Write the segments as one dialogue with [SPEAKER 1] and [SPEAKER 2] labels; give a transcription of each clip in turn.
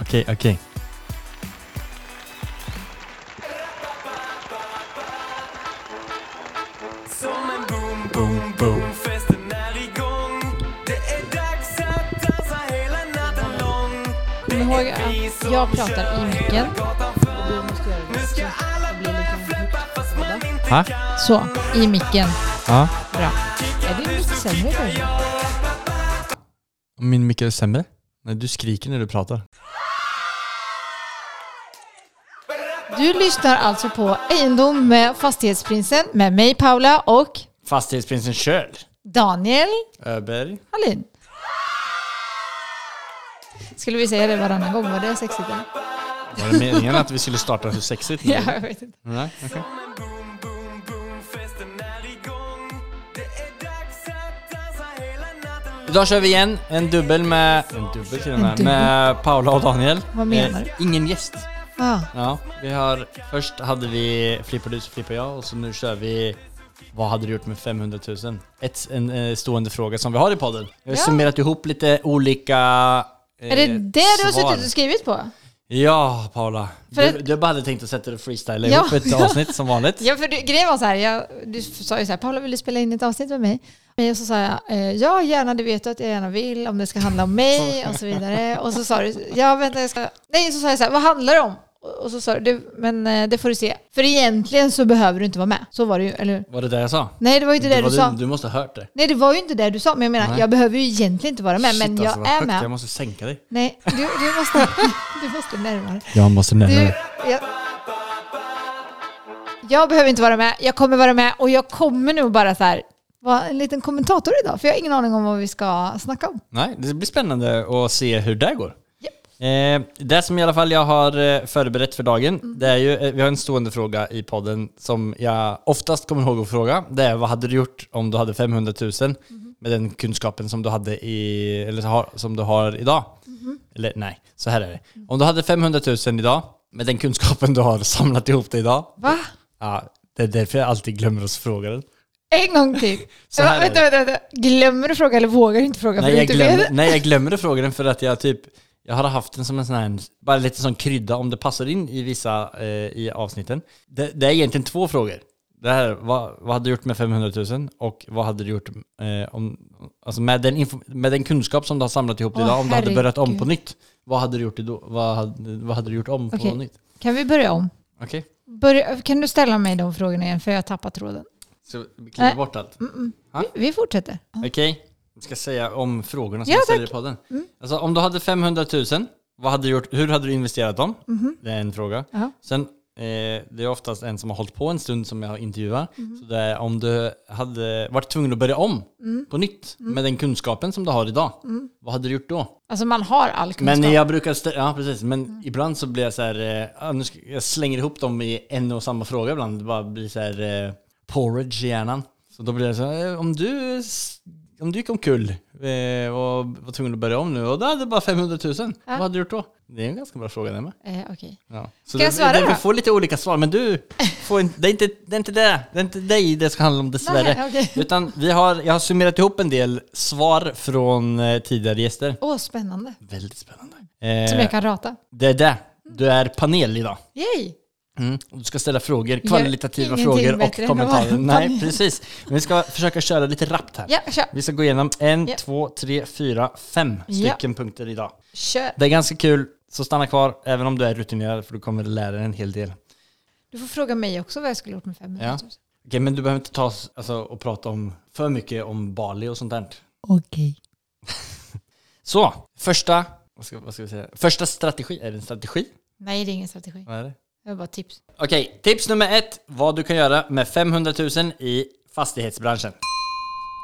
[SPEAKER 1] Okej, okej.
[SPEAKER 2] Som en boom, boom, boom Festen är igång Det är dags att dansa hela natten lång
[SPEAKER 3] Kom ihåg att jag pratar i micken.
[SPEAKER 2] fram Nu ska alla börja flippa fast man inte
[SPEAKER 1] Ha?
[SPEAKER 3] Så, i micken.
[SPEAKER 1] Ja.
[SPEAKER 3] Bra. Är din mick sämre kanske?
[SPEAKER 1] Min mick är sämre. Nej, du skriker när du pratar.
[SPEAKER 3] Du lyssnar alltså på Egendom med Fastighetsprinsen med mig Paula och
[SPEAKER 1] Fastighetsprinsen Kjöl.
[SPEAKER 3] Daniel
[SPEAKER 1] Öberg.
[SPEAKER 3] Hallin. Skulle vi säga det varannan gång? Var det sexigt eller?
[SPEAKER 1] Var det meningen att vi skulle starta så sexigt nu?
[SPEAKER 3] Ja, jag vet inte.
[SPEAKER 1] Nej, okej.
[SPEAKER 2] Som en boom, boom, boom Festen är igång Det är dags att dansa hela natten lång
[SPEAKER 1] Idag kör vi igen en dubbel med... En dubbel till och
[SPEAKER 3] En
[SPEAKER 1] med.
[SPEAKER 3] dubbel.
[SPEAKER 1] Med Paula och Daniel.
[SPEAKER 3] Vad menar
[SPEAKER 1] du? Ingen gäst.
[SPEAKER 3] Ja.
[SPEAKER 1] Ja, vi har... Först hade vi Flippar du så flippar jag och så nu kör vi vad hade du gjort med 500 000? Ett, en eh, stående fråga som vi har i podden. Vi har
[SPEAKER 3] Ja.
[SPEAKER 1] summerat ihop lite olika eh,
[SPEAKER 3] Är det det du har
[SPEAKER 1] svar.
[SPEAKER 3] suttit och skrivit på?
[SPEAKER 1] Ja, Paula.
[SPEAKER 3] För
[SPEAKER 1] Du,
[SPEAKER 3] att-
[SPEAKER 1] du bara hade tänkt att sätta dig och freestyla
[SPEAKER 3] Ja.
[SPEAKER 1] ihop ett avsnitt som vanligt.
[SPEAKER 3] Ja, för du, grejen var så här, jag, du sa ju så här, Paula vill du spela in ett avsnitt med mig? Och så sa jag, eh, ja gärna, det vet du att jag gärna vill, om det ska handla om mig och så vidare. Och så sa du, ja vänta, jag ska... Nej, så sa jag så här, vad handlar det om? Och- Och så sa du, du, men eh, det får du se. För egentligen så behöver du inte vara med. Så var det ju, eller hur?
[SPEAKER 1] Var det det jag sa?
[SPEAKER 3] Nej, det var ju inte det,
[SPEAKER 1] var
[SPEAKER 3] du sa.
[SPEAKER 1] Du måste ha hört det.
[SPEAKER 3] Nej, det var ju inte det du sa, men jag menar,
[SPEAKER 1] Nej.
[SPEAKER 3] jag behöver ju egentligen inte vara med, men
[SPEAKER 1] Shit,
[SPEAKER 3] jag
[SPEAKER 1] alltså, vad
[SPEAKER 3] är
[SPEAKER 1] högt.
[SPEAKER 3] med.
[SPEAKER 1] Jag måste sänka dig.
[SPEAKER 3] Nej, du, du, måste, du måste närmare.
[SPEAKER 1] Jag måste
[SPEAKER 3] Du,
[SPEAKER 1] Mm.
[SPEAKER 3] jag, jag behöver inte vara med. Jag kommer vara med och jag kommer nog bara så här vara en liten kommentator idag. För jag har ingen aning om vad vi ska snacka om.
[SPEAKER 1] Nej, det blir spännande att se hur det går.
[SPEAKER 3] Japp.
[SPEAKER 1] Eh, det som i alla fall jag har eh, förberett för dagen, det är ju, eh, vi har en stående fråga i podden som jag oftast kommer ihåg att fråga. Det är vad hade du gjort om du hade 500 000 med den kunskapen som du hade i, eller har, som du har idag? Eller nej, så här är det. Om du hade 500 000 idag med den kunskapen du har samlat ihop dig idag.
[SPEAKER 3] Va?
[SPEAKER 1] Ja, det är därför jag alltid glömmer att fråga den.
[SPEAKER 3] En gång till.
[SPEAKER 1] Så här
[SPEAKER 3] Va,
[SPEAKER 1] är
[SPEAKER 3] vänta,
[SPEAKER 1] det.
[SPEAKER 3] vänta, vänta. Glömmer du fråga eller vågar du inte fråga?
[SPEAKER 1] Nej
[SPEAKER 3] för
[SPEAKER 1] jag,
[SPEAKER 3] du inte vet?
[SPEAKER 1] glömmer, nej jag glömmer att fråga den för att jag typ Jag har haft den som en sån här Bara lite sån krydda om det passar in i vissa eh, i avsnitten det, det är egentligen två frågor Det här, vad, vad hade du gjort med 500 000 och vad hade du gjort eh, om, alltså med, den info, med den kunskap som du har samlat ihop
[SPEAKER 3] Åh,
[SPEAKER 1] idag om du hade börjat om på
[SPEAKER 3] herregud.
[SPEAKER 1] nytt Vad hade du gjort då? Vad hade, vad hade du gjort om
[SPEAKER 3] Okej.
[SPEAKER 1] på nytt?
[SPEAKER 3] Kan vi börja om?
[SPEAKER 1] Okej,
[SPEAKER 3] Börja, kan du ställa mig de frågorna igen? För jag har tappat tråden.
[SPEAKER 1] så vi kliver
[SPEAKER 3] Nej.
[SPEAKER 1] bort allt
[SPEAKER 3] Vi fortsätter.
[SPEAKER 1] Okej, jag ska säga om frågorna som
[SPEAKER 3] Ja,
[SPEAKER 1] jag ställer i
[SPEAKER 3] tack. Mm.
[SPEAKER 1] podden. Alltså, om du hade 500 000, vad hade du gjort, hur hade du investerat dem? Det är en fråga.
[SPEAKER 3] Mhm. Ja.
[SPEAKER 1] Sen, eh, det är oftast en som har hållit på en stund som jag intervjuar.
[SPEAKER 3] Mhm.
[SPEAKER 1] Så det är om du hade varit tvungen att börja om
[SPEAKER 3] Mm.
[SPEAKER 1] på nytt med den kunskapen som du har idag, vad hade du gjort då?
[SPEAKER 3] Alltså man har all kunskap. Mm.
[SPEAKER 1] Men jag brukar stä- ja precis, men ibland så blir jag så här, eh, ja, nu ska, jag slänger ihop dem i en och samma fråga ibland, det bara blir så här eh, porridge i hjärnan. Så då blir det så här, eh, om du, s- om du gick omkull eh, och var tvungen att börja om nu och då hade du bara 500 000, vad hade du gjort då? Det är en ganska bra fråga det med.
[SPEAKER 3] Eh, Okej.
[SPEAKER 1] Ja. Så
[SPEAKER 3] Ska
[SPEAKER 1] det,
[SPEAKER 3] jag svara
[SPEAKER 1] det, Vi
[SPEAKER 3] då?
[SPEAKER 1] får lite olika svar, men du får inte, det, är inte, det är inte det. Det är inte dig det ska handla om dessvärre.
[SPEAKER 3] Nej, okej.
[SPEAKER 1] Utan vi har, jag har summerat ihop en del svar från eh, tidigare gäster.
[SPEAKER 3] Åh, spännande.
[SPEAKER 1] Väldigt spännande.
[SPEAKER 3] Som
[SPEAKER 1] Eh,
[SPEAKER 3] jag kan rata.
[SPEAKER 1] det är det. Du är panel idag.
[SPEAKER 3] Yay!
[SPEAKER 1] Mm. Och Du ska ställa frågor, kvalitativa
[SPEAKER 3] ingenting
[SPEAKER 1] frågor
[SPEAKER 3] bättre
[SPEAKER 1] och
[SPEAKER 3] än att
[SPEAKER 1] kommentarer.
[SPEAKER 3] vara
[SPEAKER 1] Nej,
[SPEAKER 3] panel.
[SPEAKER 1] precis. Men vi ska försöka köra lite rappt här.
[SPEAKER 3] Ja, kör.
[SPEAKER 1] Vi ska gå igenom en,
[SPEAKER 3] Ja.
[SPEAKER 1] två, tre, fyra, fem
[SPEAKER 3] Ja.
[SPEAKER 1] stycken punkter idag.
[SPEAKER 3] Kör.
[SPEAKER 1] Det är ganska kul, så stanna kvar även om du är rutinerad för du kommer lära dig en hel del. Okej,
[SPEAKER 3] Du får fråga mig också vad jag skulle gjort med 500 000.
[SPEAKER 1] Ja. men du behöver inte ta s- alltså, och prata om för mycket om Bali och sånt där.
[SPEAKER 3] Okej.
[SPEAKER 1] Så, första, vad ska, vad ska vi säga? Första strategi, är det en strategi?
[SPEAKER 3] Nej, det är ingen strategi.
[SPEAKER 1] Vad är det?
[SPEAKER 3] Det var bara tips.
[SPEAKER 1] Okej, tips nummer ett. Vad du kan göra med 500 000 i fastighetsbranschen.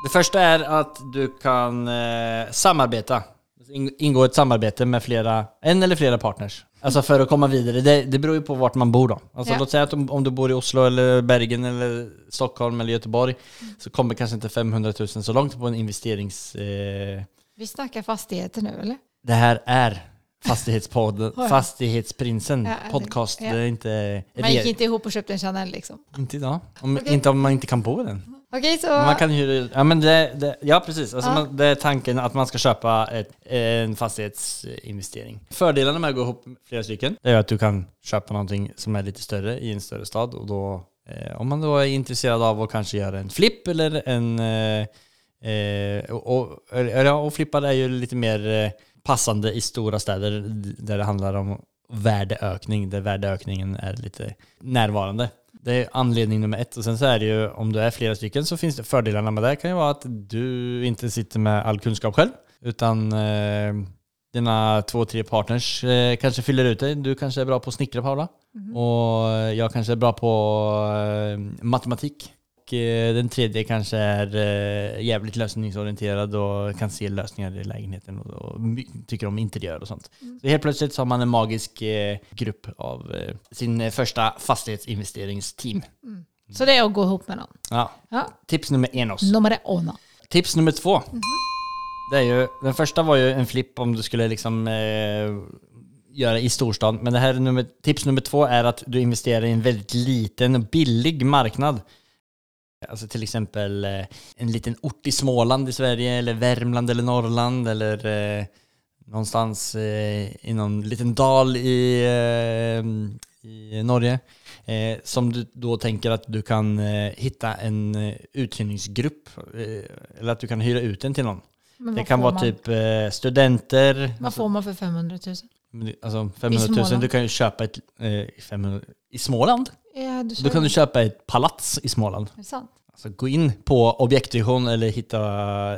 [SPEAKER 1] Det första är att du kan eh, samarbeta. In- Ingå ett samarbete med flera, en eller flera partners. Alltså för att komma vidare. Det, det beror ju på vart man bor då. Alltså
[SPEAKER 3] Ja.
[SPEAKER 1] låt säga att om, om du bor i Oslo eller Bergen eller Stockholm eller Göteborg så kommer kanske inte 500 000 så långt på en investerings... Eh,
[SPEAKER 3] Vi snackar fastigheter nu eller?
[SPEAKER 1] det här är Fastighetspodden,
[SPEAKER 3] Oj.
[SPEAKER 1] Fastighetsprinsen
[SPEAKER 3] Ja, det-
[SPEAKER 1] podcast.
[SPEAKER 3] ja.
[SPEAKER 1] Det är inte...
[SPEAKER 3] Man gick inte ihop och köpte en Chanel liksom.
[SPEAKER 1] Inte idag. Om,
[SPEAKER 3] Okej.
[SPEAKER 1] Inte om man inte kan bo i den.
[SPEAKER 3] Okej, så...
[SPEAKER 1] Man kan hyra, ja, men det, det, ja precis, alltså,
[SPEAKER 3] Ja.
[SPEAKER 1] Man, det är tanken att man ska köpa ett, en fastighetsinvestering. Fördelarna med att gå ihop med flera stycken det är att du kan köpa någonting som är lite större i en större stad och då eh, om man då är intresserad av att kanske göra en flipp eller en eh, Eh, och, och, eller, ja, och flippar är ju lite mer eh, passande i stora städer d- där det handlar om värdeökning, där värdeökningen är lite närvarande. Det är anledning nummer ett. Och sen så är det ju, om du är flera stycken så finns det fördelarna med det kan ju vara att du inte sitter med all kunskap själv, utan eh, dina två, tre partners eh, kanske fyller ut dig. Du kanske är bra på att snickra Paula. Och jag kanske är bra på eh, matematik. Och eh, den tredje kanske är eh, jävligt lösningsorienterad och kan se lösningar i lägenheten och, och my- tycker om interiör och sånt. Så helt plötsligt så har man en magisk eh, grupp av eh, sin eh, första fastighetsinvesteringsteam.
[SPEAKER 3] Så det är att gå ihop med någon.
[SPEAKER 1] Ja.
[SPEAKER 3] Ja.
[SPEAKER 1] Tips nummer en oss.
[SPEAKER 3] Nummer uno.
[SPEAKER 1] Tips nummer två. Det är ju, den första var ju en flipp om du skulle liksom eh, göra i storstan. Men det här är nummer, tips nummer två är att du investerar i en väldigt liten och billig marknad. Alltså till exempel eh, en liten ort i Småland i Sverige eller Värmland eller Norrland eller eh, någonstans eh, i någon liten dal i, eh, i Norge. Eh, som du då tänker att du kan eh, hitta en eh, uthyrningsgrupp eh, eller att du kan hyra ut den till någon.
[SPEAKER 3] Men
[SPEAKER 1] Det
[SPEAKER 3] vad
[SPEAKER 1] kan
[SPEAKER 3] får
[SPEAKER 1] vara
[SPEAKER 3] man?
[SPEAKER 1] typ eh, studenter,
[SPEAKER 3] Vad får man för 500 000?
[SPEAKER 1] alltså
[SPEAKER 3] I
[SPEAKER 1] 500 000,
[SPEAKER 3] Småland.
[SPEAKER 1] du kan ju köpa ett, eh, 500, i Småland,
[SPEAKER 3] Ja, du
[SPEAKER 1] då kan du köpa ett palats i Småland.
[SPEAKER 3] Är det sant?
[SPEAKER 1] Alltså gå in på objektvision eller hitta,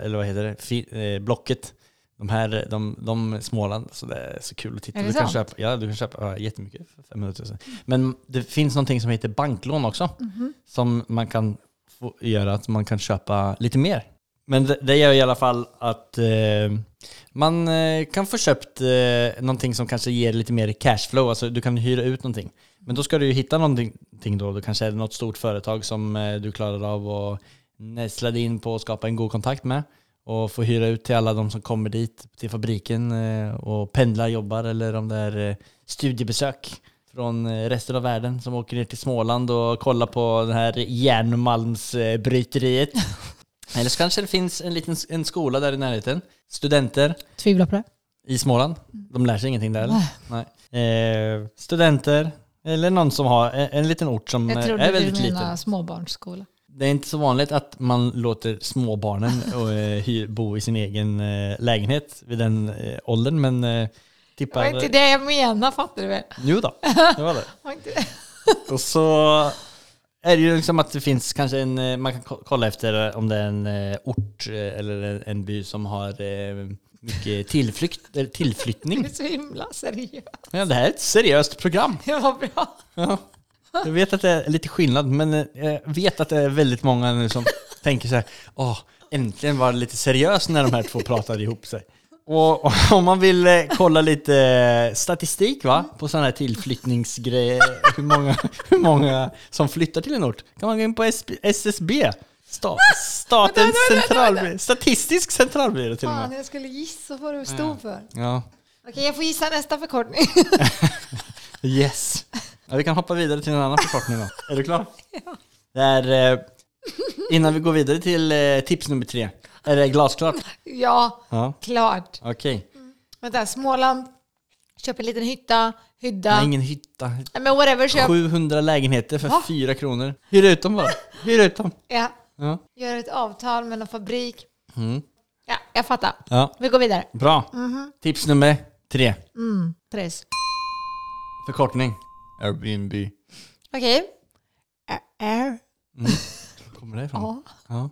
[SPEAKER 1] eller vad heter det, Fi, eh, Blocket. De här, de, de Småland, så det är så kul att titta.
[SPEAKER 3] Är det
[SPEAKER 1] Du kan,
[SPEAKER 3] sant?
[SPEAKER 1] köpa, ja, du kan köpa ja, jättemycket för 500 000. Men det finns någonting som heter banklån också,
[SPEAKER 3] Mhm.
[SPEAKER 1] som man kan få göra att man kan köpa lite mer. Men det, det gör i alla fall att eh, man eh, kan få köpt eh, någonting som kanske ger lite mer cashflow, alltså du kan hyra ut någonting. Men då ska du ju hitta någonting då, då kanske är det något stort företag som eh, du klarar av att nästla dig in på och skapa en god kontakt med och få hyra ut till alla de som kommer dit till fabriken eh, och pendlar, jobbar eller om det är eh, studiebesök från eh, resten av världen som åker ner till Småland och kollar på det här järnmalmsbryteriet. eller så kanske det finns en liten en skola där i närheten, studenter
[SPEAKER 3] Tvivlar på det.
[SPEAKER 1] i Småland.
[SPEAKER 3] Mm.
[SPEAKER 1] De lär sig ingenting där eller? Nej. Eh, studenter eller någon som har en, en liten ort som
[SPEAKER 3] Jag
[SPEAKER 1] eh,
[SPEAKER 3] trodde
[SPEAKER 1] är
[SPEAKER 3] du
[SPEAKER 1] väldigt
[SPEAKER 3] menade
[SPEAKER 1] liten.
[SPEAKER 3] småbarnsskola.
[SPEAKER 1] Det är inte så vanligt att man låter småbarnen och, eh, hy- bo i sin egen eh, lägenhet vid den eh, åldern, men eh,
[SPEAKER 3] Det
[SPEAKER 1] tippar...
[SPEAKER 3] var inte det jag menade, fattar du väl?
[SPEAKER 1] Jo då, det var det.
[SPEAKER 3] Det var inte det.
[SPEAKER 1] Och så är det ju liksom att det finns kanske en, eh, man kan ko- kolla efter om det är en eh, ort eh, eller en- en by som har eh, mycket tillflykt, eller
[SPEAKER 3] Du
[SPEAKER 1] tillflyttning.
[SPEAKER 3] är så himla seriös.
[SPEAKER 1] Ja, det här är ett seriöst program.
[SPEAKER 3] Det var bra.
[SPEAKER 1] Ja. Jag vet att det är lite skillnad, men eh, jag vet att det är väldigt många nu som tänker så här, åh, äntligen var det lite seriöst när de här två pratade ihop sig. Och och om man vill eh, kolla lite eh, statistik va, på sådana här tillflyttningsgrejer, hur många, hur många som flyttar till en ort, kan man gå in på SB, SSB, sta, Statens centralbyrå, Statistisk centralbyrå till och
[SPEAKER 3] Fan,
[SPEAKER 1] med.
[SPEAKER 3] jag skulle gissa vad du stod för.
[SPEAKER 1] Ja,
[SPEAKER 3] Okej, jag får gissa nästa förkortning.
[SPEAKER 1] yes. Ja, vi kan hoppa vidare till en annan förkortning då. Är du klar? Det är, eh, innan vi går vidare till eh, tips nummer tre. Är det glasklart?
[SPEAKER 3] ja,
[SPEAKER 1] Ja,
[SPEAKER 3] klart.
[SPEAKER 1] okej.
[SPEAKER 3] Vänta, Småland. Köp en liten hytta, hydda.
[SPEAKER 1] Nej, ingen hytta.
[SPEAKER 3] Nej, men whatever, köp.
[SPEAKER 1] 700 lägenheter för
[SPEAKER 3] Va?
[SPEAKER 1] 4 kronor. Hyr ut dem bara. Hyr ut dem.
[SPEAKER 3] Ja.
[SPEAKER 1] Ja.
[SPEAKER 3] Gör ett avtal med någon fabrik.
[SPEAKER 1] Mm.
[SPEAKER 3] Ja, jag fattar.
[SPEAKER 1] ja.
[SPEAKER 3] Vi går vidare.
[SPEAKER 1] Bra.
[SPEAKER 3] Mhm.
[SPEAKER 1] Tips nummer tre.
[SPEAKER 3] Mm, tres.
[SPEAKER 1] Förkortning. Airbnb.
[SPEAKER 3] Okej. Ä- Air.
[SPEAKER 1] Kommer det ifrån?
[SPEAKER 3] Ja.
[SPEAKER 1] ja.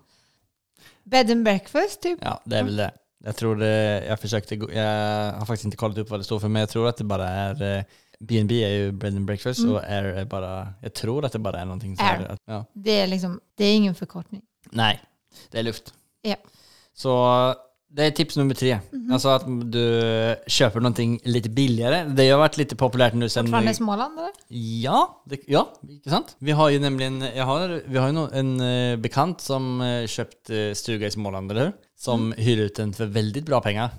[SPEAKER 3] Bed and breakfast, typ.
[SPEAKER 1] Ja, det är väl det. Jag tror det, jag försökte, gå- jag har faktiskt inte kollat upp vad det står för, men jag tror att det bara är eh, B&B är ju bed and breakfast och Air är eh, bara, jag tror att det bara Mm. är någonting så här
[SPEAKER 3] Air.
[SPEAKER 1] att, ja.
[SPEAKER 3] Det är liksom, det är ingen förkortning.
[SPEAKER 1] Nej, det är luft.
[SPEAKER 3] Ja.
[SPEAKER 1] Så det är tips nummer tre. Alltså att du köper någonting lite billigare. Det har varit lite populärt nu sen...
[SPEAKER 3] Från Småland eller?
[SPEAKER 1] Ja, det, ja, inte sant? Vi har ju nämligen, jag har, vi har ju nå- en eh, bekant som eh, köpt eh, stuga i Småland, eller hur? Som
[SPEAKER 3] Mm.
[SPEAKER 1] hyr ut den för väldigt bra pengar.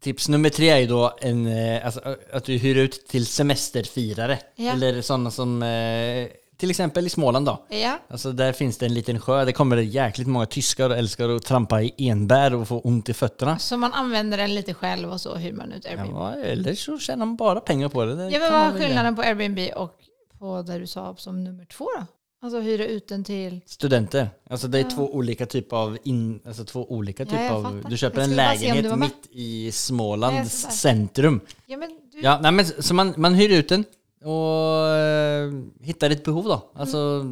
[SPEAKER 1] Tips nummer tre är ju då en, eh, alltså, eh, att du hyr ut till semesterfirare.
[SPEAKER 3] Ja.
[SPEAKER 1] Eller sådana som, eh, till exempel i Småland då.
[SPEAKER 3] Ja.
[SPEAKER 1] Alltså där finns det en liten sjö, där kommer det jäkligt många tyskar och älskar att trampa i enbär och få ont i fötterna.
[SPEAKER 3] Så man använder den lite själv och så hyr man ut Airbnb.
[SPEAKER 1] Ja, eller så tjänar man bara pengar på det. det
[SPEAKER 3] Mm. Ja,
[SPEAKER 1] kan
[SPEAKER 3] men vad
[SPEAKER 1] man
[SPEAKER 3] är
[SPEAKER 1] välja.
[SPEAKER 3] skillnaden på Airbnb och på där du sa som nummer två då? Alltså hyra ut den till...
[SPEAKER 1] Studenter. Alltså det är två olika typer av... In, alltså två olika
[SPEAKER 3] Ja,
[SPEAKER 1] typer
[SPEAKER 3] jag
[SPEAKER 1] av...
[SPEAKER 3] fattar.
[SPEAKER 1] Du köper
[SPEAKER 3] Jag
[SPEAKER 1] en
[SPEAKER 3] skulle bara se om du
[SPEAKER 1] lägenhet
[SPEAKER 3] var med.
[SPEAKER 1] mitt i Smålands
[SPEAKER 3] Ja, jag Mm.
[SPEAKER 1] centrum.
[SPEAKER 3] Ja, men du,
[SPEAKER 1] Ja, nej, men, så man, man hyr ut den och eh, hittar ett behov då. Alltså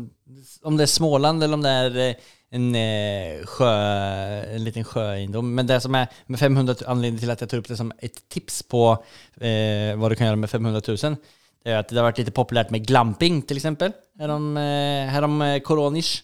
[SPEAKER 1] om det är Småland eller om det är eh, en, eh, sjö, en liten sjöegendom. Men det som är med 500 000 anledningen till att jag tar upp det som ett tips på eh, vad du kan göra med 500 000. Det är att det har varit lite populärt med glamping till exempel. Härom, eh, härom eh, coronish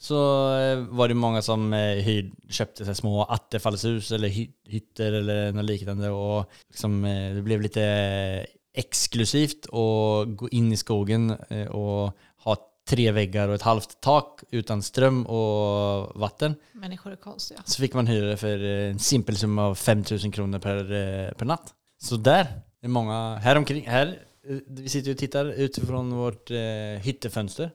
[SPEAKER 1] så eh, var det många som eh, hyr, köpte sig små attefallshus eller hy, hytter eller något liknande och liksom, eh, det blev lite exklusivt att gå in i skogen eh, och ha tre väggar och ett halvt tak utan ström och vatten.
[SPEAKER 3] människor är konstiga.
[SPEAKER 1] Så fick man hyra det för eh, en simpel summa av 5000 kronor per, eh, per natt. Så där är många, här omkring, här, eh, vi sitter ju och tittar utifrån vårt eh, hyttefönster.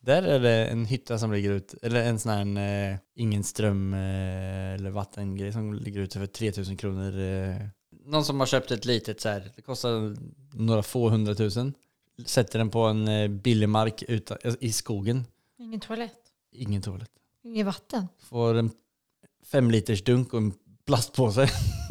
[SPEAKER 1] Där är det en hytta som ligger ut, eller en sån här en, eh, ingen ström eh, eller vattengrej som ligger ute för 3000 kronor. Eh. Någon som har köpt ett litet så här, det kostar några få hundratusen. Sätter den på en eh, billig mark utan, i skogen.
[SPEAKER 3] Ingen toalett,
[SPEAKER 1] Ingen toalett.
[SPEAKER 3] inget vatten.
[SPEAKER 1] Får en fem liters dunk och en plastpåse.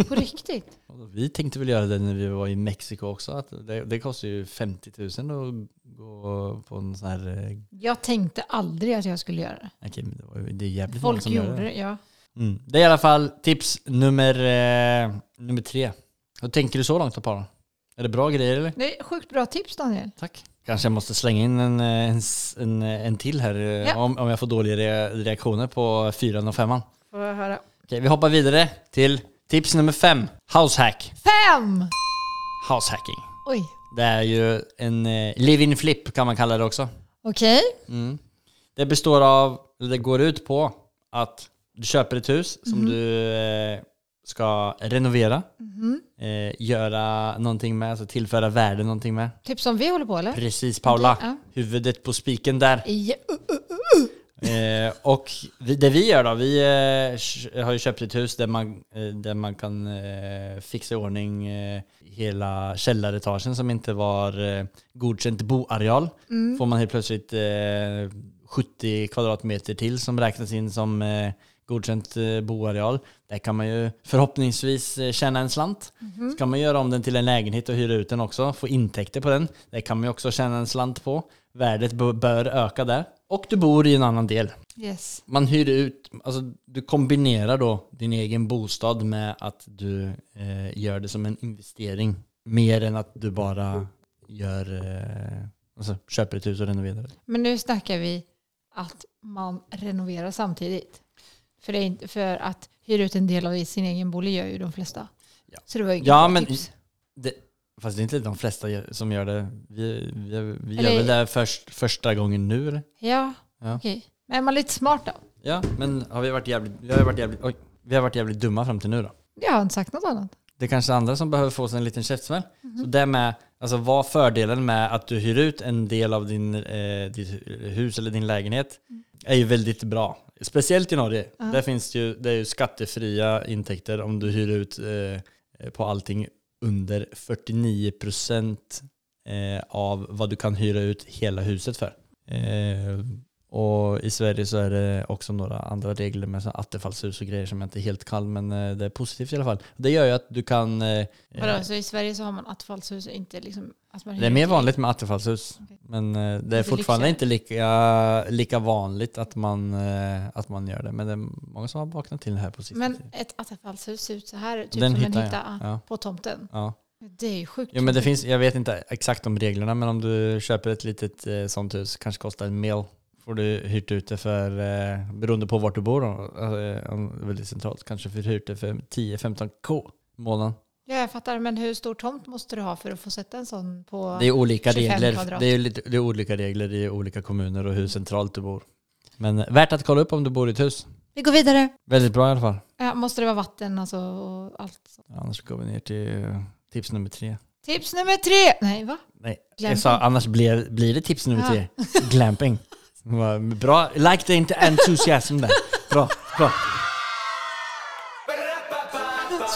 [SPEAKER 3] På riktigt.
[SPEAKER 1] Och vi tänkte väl göra det när vi var i Mexiko också. Att det, det kostar ju 50 000 att gå på en sån här... eh,
[SPEAKER 3] Jag tänkte aldrig att jag skulle göra det.
[SPEAKER 1] Okej, men det, var, ju- det är jävligt många
[SPEAKER 3] Folk
[SPEAKER 1] som gör
[SPEAKER 3] gjorde
[SPEAKER 1] det.
[SPEAKER 3] det, ja.
[SPEAKER 1] Mm. Det är i alla fall tips nummer, eh, nummer tre. Hur tänker du så långt då Paula? Är det bra grejer eller?
[SPEAKER 3] Det är sjukt bra tips Daniel.
[SPEAKER 1] Tack. Kanske jag måste slänga in en, eh, en, s- en, eh, en till här eh,
[SPEAKER 3] Ja.
[SPEAKER 1] om, om jag får dåliga re- reaktioner på fyran och femman.
[SPEAKER 3] Får jag höra.
[SPEAKER 1] Okej, vi hoppar vidare till tips nummer fem. Househack.
[SPEAKER 3] Fem!
[SPEAKER 1] Househacking.
[SPEAKER 3] Oj.
[SPEAKER 1] Det är ju en eh, live-in flip kan man kalla det också. Mm.
[SPEAKER 3] Okej.
[SPEAKER 1] Det består av, eller det går ut på att du köper ett hus
[SPEAKER 3] Mhm.
[SPEAKER 1] som du eh, ska renovera,
[SPEAKER 3] Mhm.
[SPEAKER 1] eh, göra någonting med, alltså tillföra värde någonting med.
[SPEAKER 3] Typ som vi håller på eller?
[SPEAKER 1] Precis Paula,
[SPEAKER 3] Ja.
[SPEAKER 1] huvudet på spiken där.
[SPEAKER 3] Ja.
[SPEAKER 1] Eh, och vi, det vi gör då, vi eh, kö- har ju köpt ett hus där man, eh, där man kan eh, fixa i ordning eh, hela källaretagen som inte var eh, godkänt boareal. Får man helt plötsligt eh, 70 kvadratmeter till som räknas in som eh, godkänt eh, boareal. Där kan man ju förhoppningsvis eh, tjäna en slant. Så kan man göra om den till en lägenhet och hyra ut den också, få intäkter på den. Det kan man ju också tjäna en slant på. Värdet b- bör öka där. Och du bor i en annan del.
[SPEAKER 3] Yes.
[SPEAKER 1] Man hyr ut, alltså du kombinerar då din egen bostad med att du eh, gör det som en investering. Mer än att du bara gör, eh, alltså köper ett hus och renoverar det.
[SPEAKER 3] Men nu snackar vi att man renoverar samtidigt. För, det är inte, för att hyra ut en del av sin egen bolig gör ju de flesta.
[SPEAKER 1] Ja.
[SPEAKER 3] Så det var ju inget
[SPEAKER 1] Ja,
[SPEAKER 3] bra
[SPEAKER 1] men-
[SPEAKER 3] tips.
[SPEAKER 1] Det, fast det är inte de flesta gör- som gör det. Vi, vi, vi gör
[SPEAKER 3] Eller-
[SPEAKER 1] väl det här först, första gången nu eller?
[SPEAKER 3] Ja,
[SPEAKER 1] Ja.
[SPEAKER 3] okej. Men är man lite smart då?
[SPEAKER 1] Ja, men har vi varit jävligt, vi har varit jävligt, oj, vi har varit jävligt dumma fram till nu då.
[SPEAKER 3] Jag har inte sagt något annat.
[SPEAKER 1] Det är kanske andra som behöver få sig en liten käftsmäll. Så det med, alltså vad fördelen med att du hyr ut en del av din, eh, ditt hu- hus eller din lägenhet är ju väldigt bra. Speciellt i Norge. Där finns det ju, det är ju skattefria intäkter om du hyr ut eh, på allting under 49 procent eh, av vad du kan hyra ut hela huset för. Eh, och i Sverige så är det också några andra regler med så här attefallshus och grejer som jag inte är helt kall men eh, det är positivt i alla fall. Det gör ju att du kan... eh,
[SPEAKER 3] Vadå, så i Sverige så har man attefallshus och inte liksom... Att man
[SPEAKER 1] Det är mer vanligt med attefallshus
[SPEAKER 3] Okej.
[SPEAKER 1] men eh, det är
[SPEAKER 3] Lite
[SPEAKER 1] fortfarande
[SPEAKER 3] lyxigare.
[SPEAKER 1] inte lika, lika vanligt att man, eh, att man gör det men det är många som har vaknat till det här på sistone.
[SPEAKER 3] Men ett attefallshus ser ut så här, typ
[SPEAKER 1] Den
[SPEAKER 3] som
[SPEAKER 1] hittar
[SPEAKER 3] en
[SPEAKER 1] jag.
[SPEAKER 3] hytta
[SPEAKER 1] Ja.
[SPEAKER 3] på tomten.
[SPEAKER 1] Ja.
[SPEAKER 3] Det är ju sjukt.
[SPEAKER 1] Jo, men det finns, jag vet inte exakt om reglerna men om du köper ett litet eh, sånt hus kanske kostar en mil får du hyrt ut det för, eh, beroende på vart du bor, då, eh, om det är väldigt centralt, kanske för hyrt det för 10-15k i månaden.
[SPEAKER 3] Ja, jag fattar. Men hur stor tomt måste du ha för att få sätta en sån på...
[SPEAKER 1] Det är olika
[SPEAKER 3] 25
[SPEAKER 1] regler.
[SPEAKER 3] kvadrat.
[SPEAKER 1] Det är, lite, det är olika regler i olika kommuner och hur centralt du bor. Men eh, värt att kolla upp om du bor i ett hus.
[SPEAKER 3] Vi går vidare.
[SPEAKER 1] Väldigt bra i alla fall.
[SPEAKER 3] Ja, måste det vara vatten alltså, och allt sånt.
[SPEAKER 1] Annars går vi ner till eh, tips nummer tre.
[SPEAKER 3] Tips nummer tre! Nej, va?
[SPEAKER 1] Nej,
[SPEAKER 3] Glamping.
[SPEAKER 1] jag sa annars blir, blir det tips nummer
[SPEAKER 3] Ja.
[SPEAKER 1] tre. Glamping. Vad Bra. Like the ent- enthusiasm där. Bra, bra.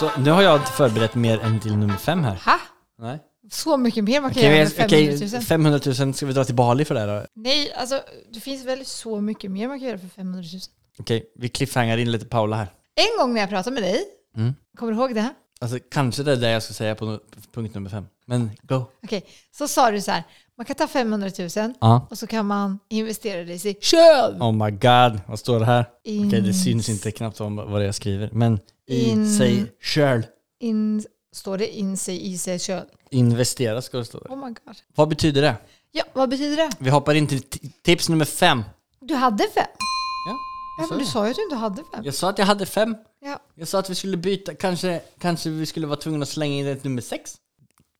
[SPEAKER 1] Så nu har jag inte förberett mer än till nummer fem här.
[SPEAKER 3] Ha?
[SPEAKER 1] Nej.
[SPEAKER 3] Så mycket mer man kan
[SPEAKER 1] Okej,
[SPEAKER 3] göra med
[SPEAKER 1] vi- okej,
[SPEAKER 3] 500 000.
[SPEAKER 1] 500 000, ska vi dra till Bali för det här då?
[SPEAKER 3] Nej, alltså det finns väl så mycket mer man kan göra för 500 000.
[SPEAKER 1] Okej, vi cliffhangar in lite Paula här.
[SPEAKER 3] En gång när jag pratade med dig,
[SPEAKER 1] Mm.
[SPEAKER 3] kommer du ihåg det?
[SPEAKER 1] Alltså kanske det är det jag ska säga på nu- punkt nummer fem. Men go.
[SPEAKER 3] Okej, så sa du så här, man kan ta 500 000
[SPEAKER 1] Ja.
[SPEAKER 3] och så kan man investera det i sig själv.
[SPEAKER 1] Oh my god, vad står det här? Okej,
[SPEAKER 3] In-
[SPEAKER 1] det syns inte knappt om vad det jag skriver. Men i
[SPEAKER 3] In-
[SPEAKER 1] sig själv.
[SPEAKER 3] In, står det in sig i sig själv?
[SPEAKER 1] Investera ska det stå.
[SPEAKER 3] Oh my god.
[SPEAKER 1] Vad betyder det?
[SPEAKER 3] Ja, vad betyder det?
[SPEAKER 1] Vi hoppar in till t- tips nummer fem.
[SPEAKER 3] Du hade fem.
[SPEAKER 1] Ja,
[SPEAKER 3] Ja, men du sa ju att du inte hade fem.
[SPEAKER 1] Jag sa att jag hade fem.
[SPEAKER 3] Ja.
[SPEAKER 1] Jag sa att vi skulle byta, kanske, kanske vi skulle vara tvungna att slänga in ett nummer sex.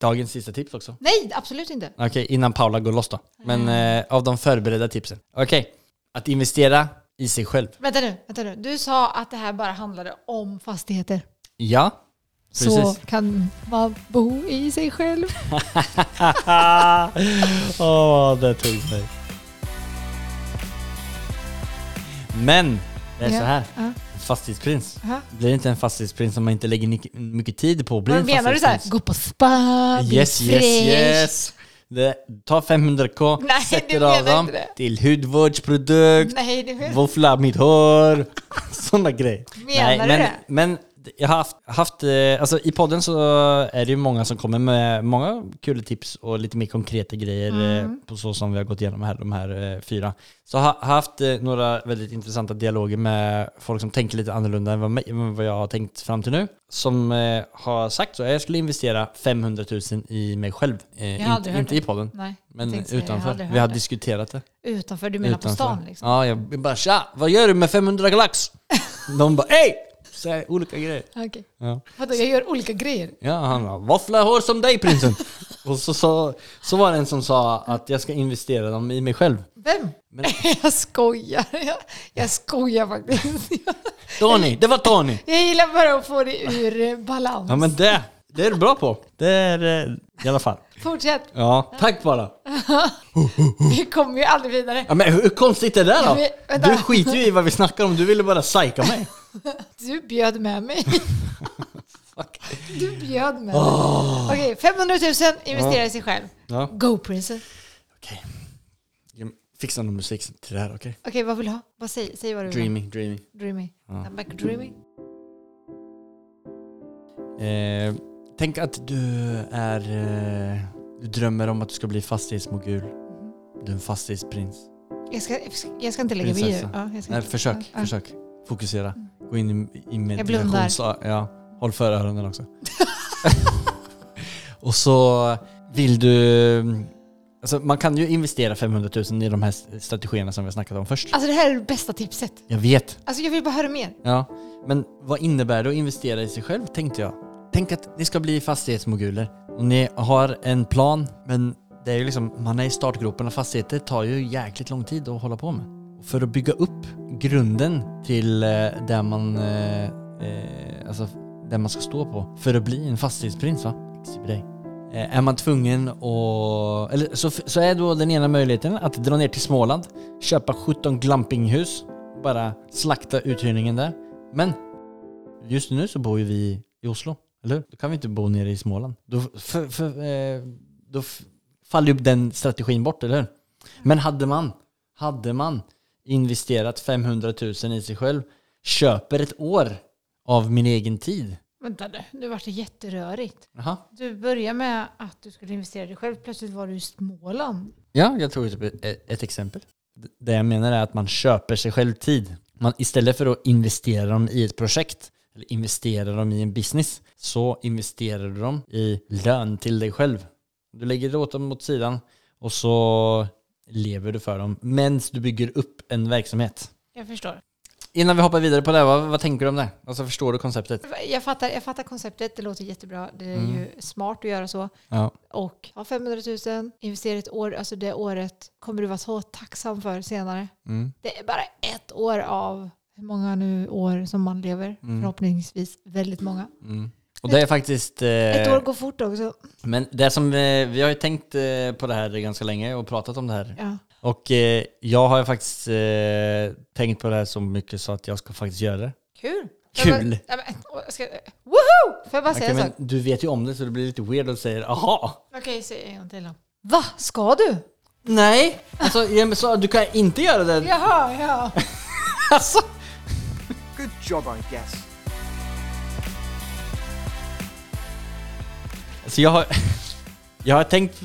[SPEAKER 1] Dagens sista tips också.
[SPEAKER 3] Nej, absolut inte.
[SPEAKER 1] Okej, innan Paula går loss då. Men eh, av de förberedda tipsen. Okej, att investera i sig själv.
[SPEAKER 3] Vänta nu, vänta nu. Du sa att det här bara handlade om fastigheter.
[SPEAKER 1] Ja,
[SPEAKER 3] Så
[SPEAKER 1] Precis.
[SPEAKER 3] kan man bo i sig själv.
[SPEAKER 1] Åh, det tog mig. Men, det är
[SPEAKER 3] Ja,
[SPEAKER 1] så här.
[SPEAKER 3] ja.
[SPEAKER 1] Fastighetsprinz.
[SPEAKER 3] Ja.
[SPEAKER 1] Blir inte en fastighetsprins om man inte lägger ni- mycket tid på att bli
[SPEAKER 3] Vad
[SPEAKER 1] en
[SPEAKER 3] menar du? Så här,
[SPEAKER 1] fastighetsprins?
[SPEAKER 3] gå på spa, bli
[SPEAKER 1] Yes, yes,
[SPEAKER 3] fräsch.
[SPEAKER 1] yes! Det, ta 500k,
[SPEAKER 3] Nej, du
[SPEAKER 1] sätter
[SPEAKER 3] menar
[SPEAKER 1] av dem
[SPEAKER 3] inte det.
[SPEAKER 1] till hudvårdsprodukt,
[SPEAKER 3] Nej, det är
[SPEAKER 1] våffla mitt hår, sådana grejer.
[SPEAKER 3] Menar
[SPEAKER 1] Nej,
[SPEAKER 3] du
[SPEAKER 1] men,
[SPEAKER 3] det?
[SPEAKER 1] Men jag har haft, haft, eh, alltså i podden så är det ju många som kommer med många kul tips och lite mer konkreta grejer eh,
[SPEAKER 3] Mm.
[SPEAKER 1] på så som vi har gått igenom här, de här eh, fyra. Så jag har har haft eh, några väldigt intressanta dialoger med folk som tänker lite annorlunda än vad, mig- än vad jag har tänkt fram till nu. Som eh, har sagt så, jag skulle investera 500 000 i mig själv. Eh,
[SPEAKER 3] Jag har
[SPEAKER 1] inte
[SPEAKER 3] aldrig hört
[SPEAKER 1] inte
[SPEAKER 3] det.
[SPEAKER 1] i podden.
[SPEAKER 3] Nej, jag
[SPEAKER 1] Men
[SPEAKER 3] tänkte säga, jag har
[SPEAKER 1] utanför.
[SPEAKER 3] aldrig
[SPEAKER 1] vi har
[SPEAKER 3] hört det.
[SPEAKER 1] diskuterat det.
[SPEAKER 3] Utanför, du menar på stan liksom?
[SPEAKER 1] Ja, jag bara tja, vad gör du med 500 lax? De bara ey! Så här, olika grejer.
[SPEAKER 3] Okej.
[SPEAKER 1] Ja.
[SPEAKER 3] Vadå, jag gör olika grejer?
[SPEAKER 1] Ja, han bara våffla hår som dig prinsen. och så, så, så var det en som sa att jag ska investera dem i mig själv.
[SPEAKER 3] Vem?
[SPEAKER 1] Men-
[SPEAKER 3] jag skojar. Jag, jag skojar faktiskt. Jag,
[SPEAKER 1] Tony, det var Tony!
[SPEAKER 3] jag gillar bara att få det ur eh, balans.
[SPEAKER 1] Ja men det, det är du bra på. Det är eh, i alla fall.
[SPEAKER 3] Fortsätt,
[SPEAKER 1] Ja, tack bara.
[SPEAKER 3] vi kommer ju aldrig vidare.
[SPEAKER 1] Ja, men hur konstigt är det
[SPEAKER 3] Ja,
[SPEAKER 1] då?
[SPEAKER 3] men, vänta.
[SPEAKER 1] Du skiter ju i vad vi snackar om, du ville bara psyka mig.
[SPEAKER 3] Du bjöd med mig.
[SPEAKER 1] Fuck.
[SPEAKER 3] Du bjöd med mig.
[SPEAKER 1] Ah.
[SPEAKER 3] Okej, 500 000 investera i sig själv.
[SPEAKER 1] Ja,
[SPEAKER 3] Go prinsen.
[SPEAKER 1] okej. Okay. Fixa någon musik till det här, okej?
[SPEAKER 3] Okej, vad vill du ha? Vad säg, säg vad du vill ha.
[SPEAKER 1] Dreamy, dreamy.
[SPEAKER 3] Dreamy.
[SPEAKER 1] Ah.
[SPEAKER 3] I'm back dreamy.
[SPEAKER 1] Eh, tänk att du är... Eh, du drömmer om att du ska bli fastighetsmogul. Du är en fastighetsprins.
[SPEAKER 3] Mm-hmm. Jag ska, jag ska- jag ska inte lägga mig i.
[SPEAKER 1] Prinsessa.
[SPEAKER 3] Ja, jag ska
[SPEAKER 1] Nej,
[SPEAKER 3] inte-
[SPEAKER 1] försök,
[SPEAKER 3] ja, ja.
[SPEAKER 1] försök. Fokusera. Gå in i, i
[SPEAKER 3] blundar.
[SPEAKER 1] meditation. Så, ja, håll för öronen också. Och så vill du... Alltså man kan ju investera 500 000 i de här strategierna som vi har snackat om först.
[SPEAKER 3] Alltså det här är det bästa tipset.
[SPEAKER 1] Jag vet.
[SPEAKER 3] Alltså jag vill bara höra mer.
[SPEAKER 1] Ja, men vad innebär det att investera i sig själv tänkte jag. Tänk att ni ska bli fastighetsmoguler och ni har en plan men det är ju liksom, man är i startgropen och fastigheter tar ju jäkligt lång tid att hålla på med. Och för att bygga upp grunden till eh, där man, eh, eh, alltså där man ska stå på för att bli en fastighetsprins va? Exhibit dig. Eh, Är man tvungen att... Eller så, så är då den ena möjligheten att dra ner till Småland, köpa 17 glampinghus, bara slakta uthyrningen där. Men just nu så bor ju vi i Oslo, eller hur? Då kan vi inte bo nere i Småland. Då, f- f- f- eh, då f- faller ju den strategin bort, eller hur? Men hade man, hade man investerat 500 000 i sig själv, köper ett år av min egen tid.
[SPEAKER 3] Vänta nu, nu vart det jätterörigt.
[SPEAKER 1] Jaha.
[SPEAKER 3] Du börjar med att du skulle investera i dig själv. Plötsligt var du i Småland.
[SPEAKER 1] Ja, jag tog typ ett, ett exempel. Det jag menar är att man köper sig själv tid. Man, istället för att investera dem i ett projekt eller investera dem i en business så investerar du dem i lön till dig själv. Du lägger det åt dem åt sidan och så lever du för dem medan du bygger upp en verksamhet.
[SPEAKER 3] Jag förstår.
[SPEAKER 1] Innan vi hoppar vidare på det, här, vad, vad tänker du om det? Alltså förstår du konceptet?
[SPEAKER 3] Jag fattar, jag fattar konceptet, det låter jättebra. Det är ju smart att göra så.
[SPEAKER 1] Ja.
[SPEAKER 3] Och ha 500 000, investera ett år, alltså det året kommer du vara så tacksam för senare.
[SPEAKER 1] Mm.
[SPEAKER 3] Det är bara ett år av hur många nu år som man lever, förhoppningsvis väldigt många.
[SPEAKER 1] Mm. Och det är faktiskt... eh,
[SPEAKER 3] Ett år går fort också.
[SPEAKER 1] Men det som, eh, vi har ju tänkt eh, på det här ganska länge och pratat om det här.
[SPEAKER 3] Ja.
[SPEAKER 1] Och eh, jag har ju faktiskt eh, tänkt på det här så mycket så att jag ska faktiskt göra det.
[SPEAKER 3] Kul!
[SPEAKER 1] Kul.
[SPEAKER 3] Jag bara, nej, men, åh, jag ska, woho! Får jag bara säga
[SPEAKER 1] Okej,
[SPEAKER 3] en
[SPEAKER 1] men
[SPEAKER 3] sak?
[SPEAKER 1] du vet ju om det så det blir lite weird att säga aha.
[SPEAKER 3] Okej, säg en gång till då. Va? Ska du?
[SPEAKER 1] Nej, alltså ja, men så, du kan inte göra det.
[SPEAKER 3] Jaha, ja.
[SPEAKER 1] Alltså.
[SPEAKER 4] Good job, I guess.
[SPEAKER 1] Så jag har, jag har tänkt...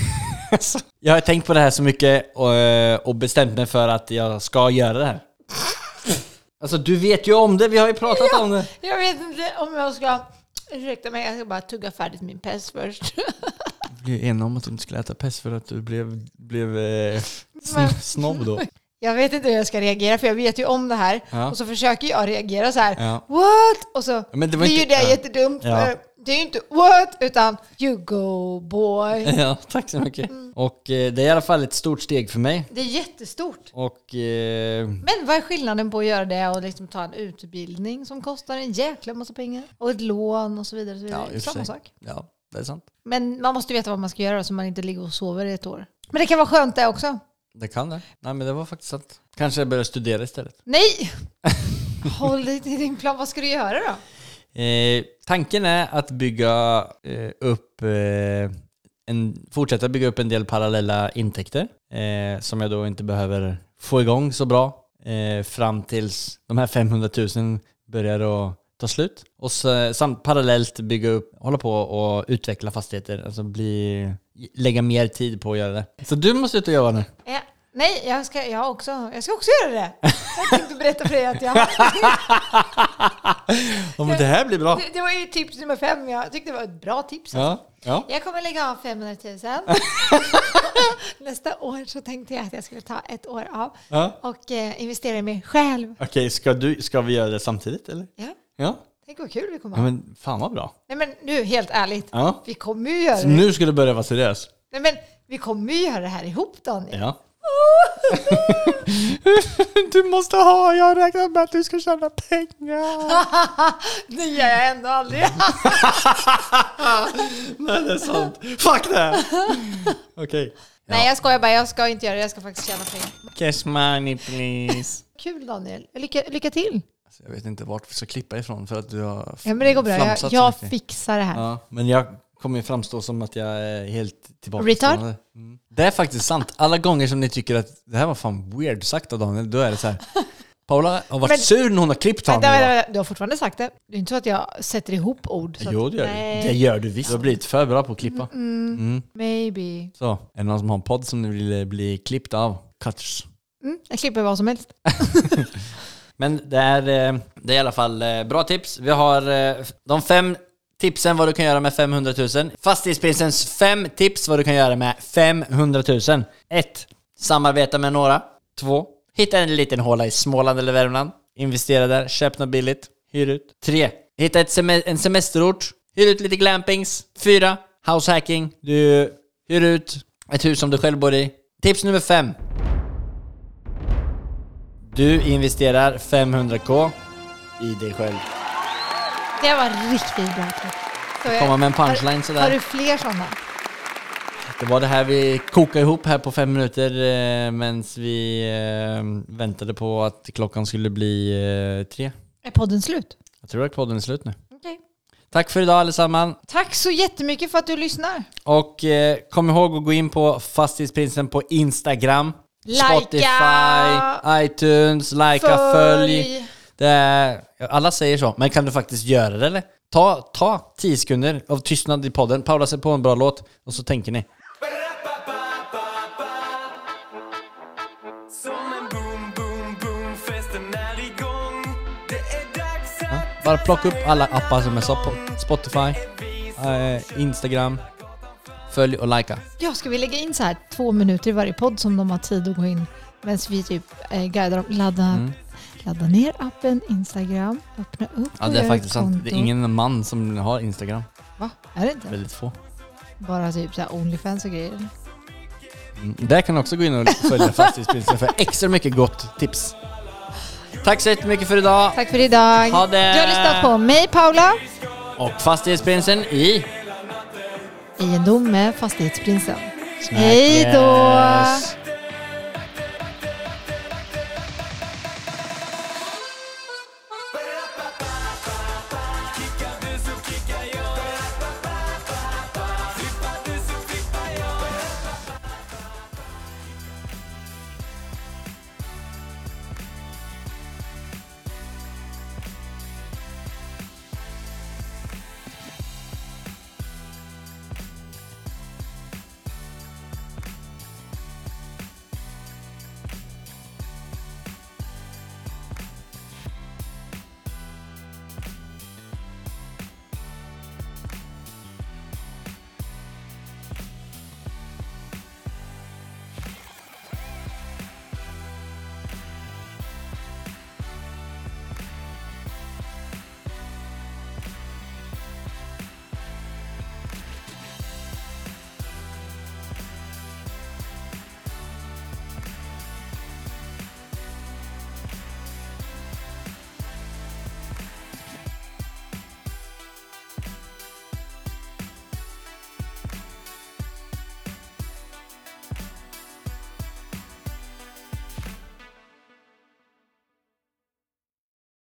[SPEAKER 1] alltså, jag har tänkt på det här så mycket och, eh, och bestämt mig för att jag ska göra det här. Alltså du vet ju om det, vi har ju pratat om det.
[SPEAKER 3] Jag vet inte om jag ska... Ursäkta mig, jag ska bara tugga färdigt min päls först.
[SPEAKER 1] blev enig om att du inte skulle äta pest för att du blev, blev eh,
[SPEAKER 3] Men-
[SPEAKER 1] snobb då.
[SPEAKER 3] Jag vet inte hur jag ska reagera för jag vet ju om det här.
[SPEAKER 1] Ja.
[SPEAKER 3] Och så försöker jag reagera så här.
[SPEAKER 1] Ja.
[SPEAKER 3] What? Och så
[SPEAKER 1] Men det var
[SPEAKER 3] blir ju
[SPEAKER 1] inte-
[SPEAKER 3] det
[SPEAKER 1] ja.
[SPEAKER 3] jättedumt.
[SPEAKER 1] Ja.
[SPEAKER 3] för Det är ju inte what utan you go boy.
[SPEAKER 1] Ja, tack så mycket.
[SPEAKER 3] Mm.
[SPEAKER 1] Och eh, det är i alla fall ett stort steg för mig.
[SPEAKER 3] Det är jättestort.
[SPEAKER 1] Och eh,
[SPEAKER 3] Men vad är skillnaden på att göra det och liksom ta en utbildning som kostar en jäkla massa pengar? Och ett lån och så vidare. Och så vidare.
[SPEAKER 1] i och för
[SPEAKER 3] Samma
[SPEAKER 1] sig.
[SPEAKER 3] sak.
[SPEAKER 1] Ja, det är sant.
[SPEAKER 3] Men man måste veta vad man ska göra så man inte ligger och sover i ett år. Men det kan vara skönt det också.
[SPEAKER 1] Det kan det. Nej men det var faktiskt sant. Kanske jag börjar studera istället.
[SPEAKER 3] Nej! Håll dig till din plan. Vad ska du göra då?
[SPEAKER 1] Eh, tanken är att bygga eh, upp eh, en, fortsätta bygga upp en del parallella intäkter eh, som jag då inte behöver få igång så bra eh, fram tills de här 500 000 börjar att ta slut. Och så, samt parallellt bygga upp, hålla på och utveckla fastigheter, alltså bli, lägga mer tid på att göra det. Så du måste ut och jobba nu.
[SPEAKER 3] Ja. Eh, Nej, jag ska, jag, också, jag ska också göra det. Jag tänkte berätta för dig att jag...
[SPEAKER 1] Om det här blir bra.
[SPEAKER 3] Det, det var ju tips nummer fem. Jag tyckte det var ett bra tips. Alltså.
[SPEAKER 1] Ja, ja.
[SPEAKER 3] Jag kommer lägga av 500 000. Nästa år så tänkte jag att jag skulle ta ett år av
[SPEAKER 1] ja.
[SPEAKER 3] och eh, investera i mig själv.
[SPEAKER 1] Okej, ska, du- ska vi göra det samtidigt eller?
[SPEAKER 3] Ja,
[SPEAKER 1] Ja.
[SPEAKER 3] tänk vad kul vi kommer
[SPEAKER 1] ja
[SPEAKER 3] ha.
[SPEAKER 1] men fan vad bra.
[SPEAKER 3] Nej men nu, helt ärligt.
[SPEAKER 1] Ja.
[SPEAKER 3] Vi kommer ju göra
[SPEAKER 1] Så
[SPEAKER 3] det.
[SPEAKER 1] nu ska du börja vara seriös?
[SPEAKER 3] Nej men, vi kommer ju göra det här ihop Daniel.
[SPEAKER 1] Ja. du måste ha, jag räknar med att du ska tjäna pengar.
[SPEAKER 3] Det gör jag ändå aldrig.
[SPEAKER 1] Nej, det är sant. Fuck det! Okej.
[SPEAKER 3] Nej jag skojar bara, jag ska inte göra det. Jag ska faktiskt tjäna pengar.
[SPEAKER 1] Cash money please.
[SPEAKER 3] Kul Daniel. Lycka, lycka till.
[SPEAKER 1] Alltså, jag vet inte vart vi ska klippa ifrån för att du har
[SPEAKER 3] Ja men det går bra. Jag,
[SPEAKER 1] flamsat så
[SPEAKER 3] jag
[SPEAKER 1] mycket.
[SPEAKER 3] fixar det här.
[SPEAKER 1] Ja, men jag kommer ju framstå som att jag är helt tillbaka.
[SPEAKER 3] Retard?
[SPEAKER 1] Mm. Det är faktiskt sant. Alla gånger som ni tycker att det här var fan weird sagt av Daniel, då är det så här. Paula har varit
[SPEAKER 3] Men-
[SPEAKER 1] sur när hon har klippt honom.
[SPEAKER 3] Vänta,
[SPEAKER 1] idag.
[SPEAKER 3] vänta, vänta. Du har fortfarande sagt det. Det är inte så att jag sätter ihop ord. Så
[SPEAKER 1] Jo,
[SPEAKER 3] att,
[SPEAKER 1] det gör du.
[SPEAKER 3] nej,
[SPEAKER 1] Det gör du visst. Du har blivit för bra på att klippa.
[SPEAKER 3] Maybe.
[SPEAKER 1] Så, är det någon som har en podd som ni vill eh, bli klippt av? Cutters.
[SPEAKER 3] Mm, jag klipper vad som helst.
[SPEAKER 1] Men det är, eh, det är i alla fall eh, bra tips. Vi har eh, f- de fem tipsen vad du kan göra med 500 000. Fastighetsprinsens fem tips vad du kan göra med 500 000. 1. Samarbeta med några. 2. Hitta en liten håla i Småland eller Värmland. Investera där, köp något billigt, hyr ut. 3. Hitta ett seme- en semesterort, hyr ut lite glampings. 4. Househacking, du hyr ut ett hus som du själv bor i. Tips nummer 5. Du investerar 500k i dig själv.
[SPEAKER 3] Det var riktigt bra klipp. Så jag-
[SPEAKER 1] Komma med en punchline sådär.
[SPEAKER 3] Har du fler sådana?
[SPEAKER 1] Det var det här vi kokade ihop här på fem minuter eh, medan vi eh, väntade på att klockan skulle bli eh, tre.
[SPEAKER 3] Är podden slut?
[SPEAKER 1] Jag tror att podden är slut nu.
[SPEAKER 3] Okej.
[SPEAKER 1] Tack för idag allesammans
[SPEAKER 3] Tack så jättemycket för att du lyssnar.
[SPEAKER 1] och eh, kom ihåg att gå in på Fastighetsprinsen på Instagram,
[SPEAKER 3] Lajka!
[SPEAKER 1] Spotify, iTunes, likea, följ.
[SPEAKER 3] Följ.
[SPEAKER 1] Det är, alla säger så, men kan du faktiskt göra det eller? Ta, ta 10 sekunder av tystnad i podden, Paula sig på en bra låt och så tänker ni.
[SPEAKER 2] Som en boom, boom, boom, festen är igång Det är dags att
[SPEAKER 1] Bara plocka upp alla appar som är så på Spotify, eh, Instagram, Följ och likea.
[SPEAKER 3] Ja, ska vi lägga in så här två minuter i varje podd som de har tid att gå in medan vi typ eh, guidar dem? Ladda,
[SPEAKER 1] Mm.
[SPEAKER 3] ladda ner appen Instagram, öppna upp
[SPEAKER 1] Ja,
[SPEAKER 3] och
[SPEAKER 1] det
[SPEAKER 3] gör
[SPEAKER 1] är
[SPEAKER 3] ett
[SPEAKER 1] faktiskt sant. Det är
[SPEAKER 3] konto.
[SPEAKER 1] ingen man som har Instagram.
[SPEAKER 3] Va? Är det inte?
[SPEAKER 1] Väldigt få.
[SPEAKER 3] Bara typ så här Onlyfans och grejer.
[SPEAKER 1] Mm. Där kan du också gå in och följa fastighetspriserna för extra mycket gott tips. Tack så jättemycket för idag
[SPEAKER 3] Tack för idag.
[SPEAKER 1] Ha det.
[SPEAKER 3] Du har lyssnat på mig Paula
[SPEAKER 1] och Fastighetsprinsen i
[SPEAKER 3] i en dom med Fastighetsprinsen. Hej då!
[SPEAKER 1] Snackes.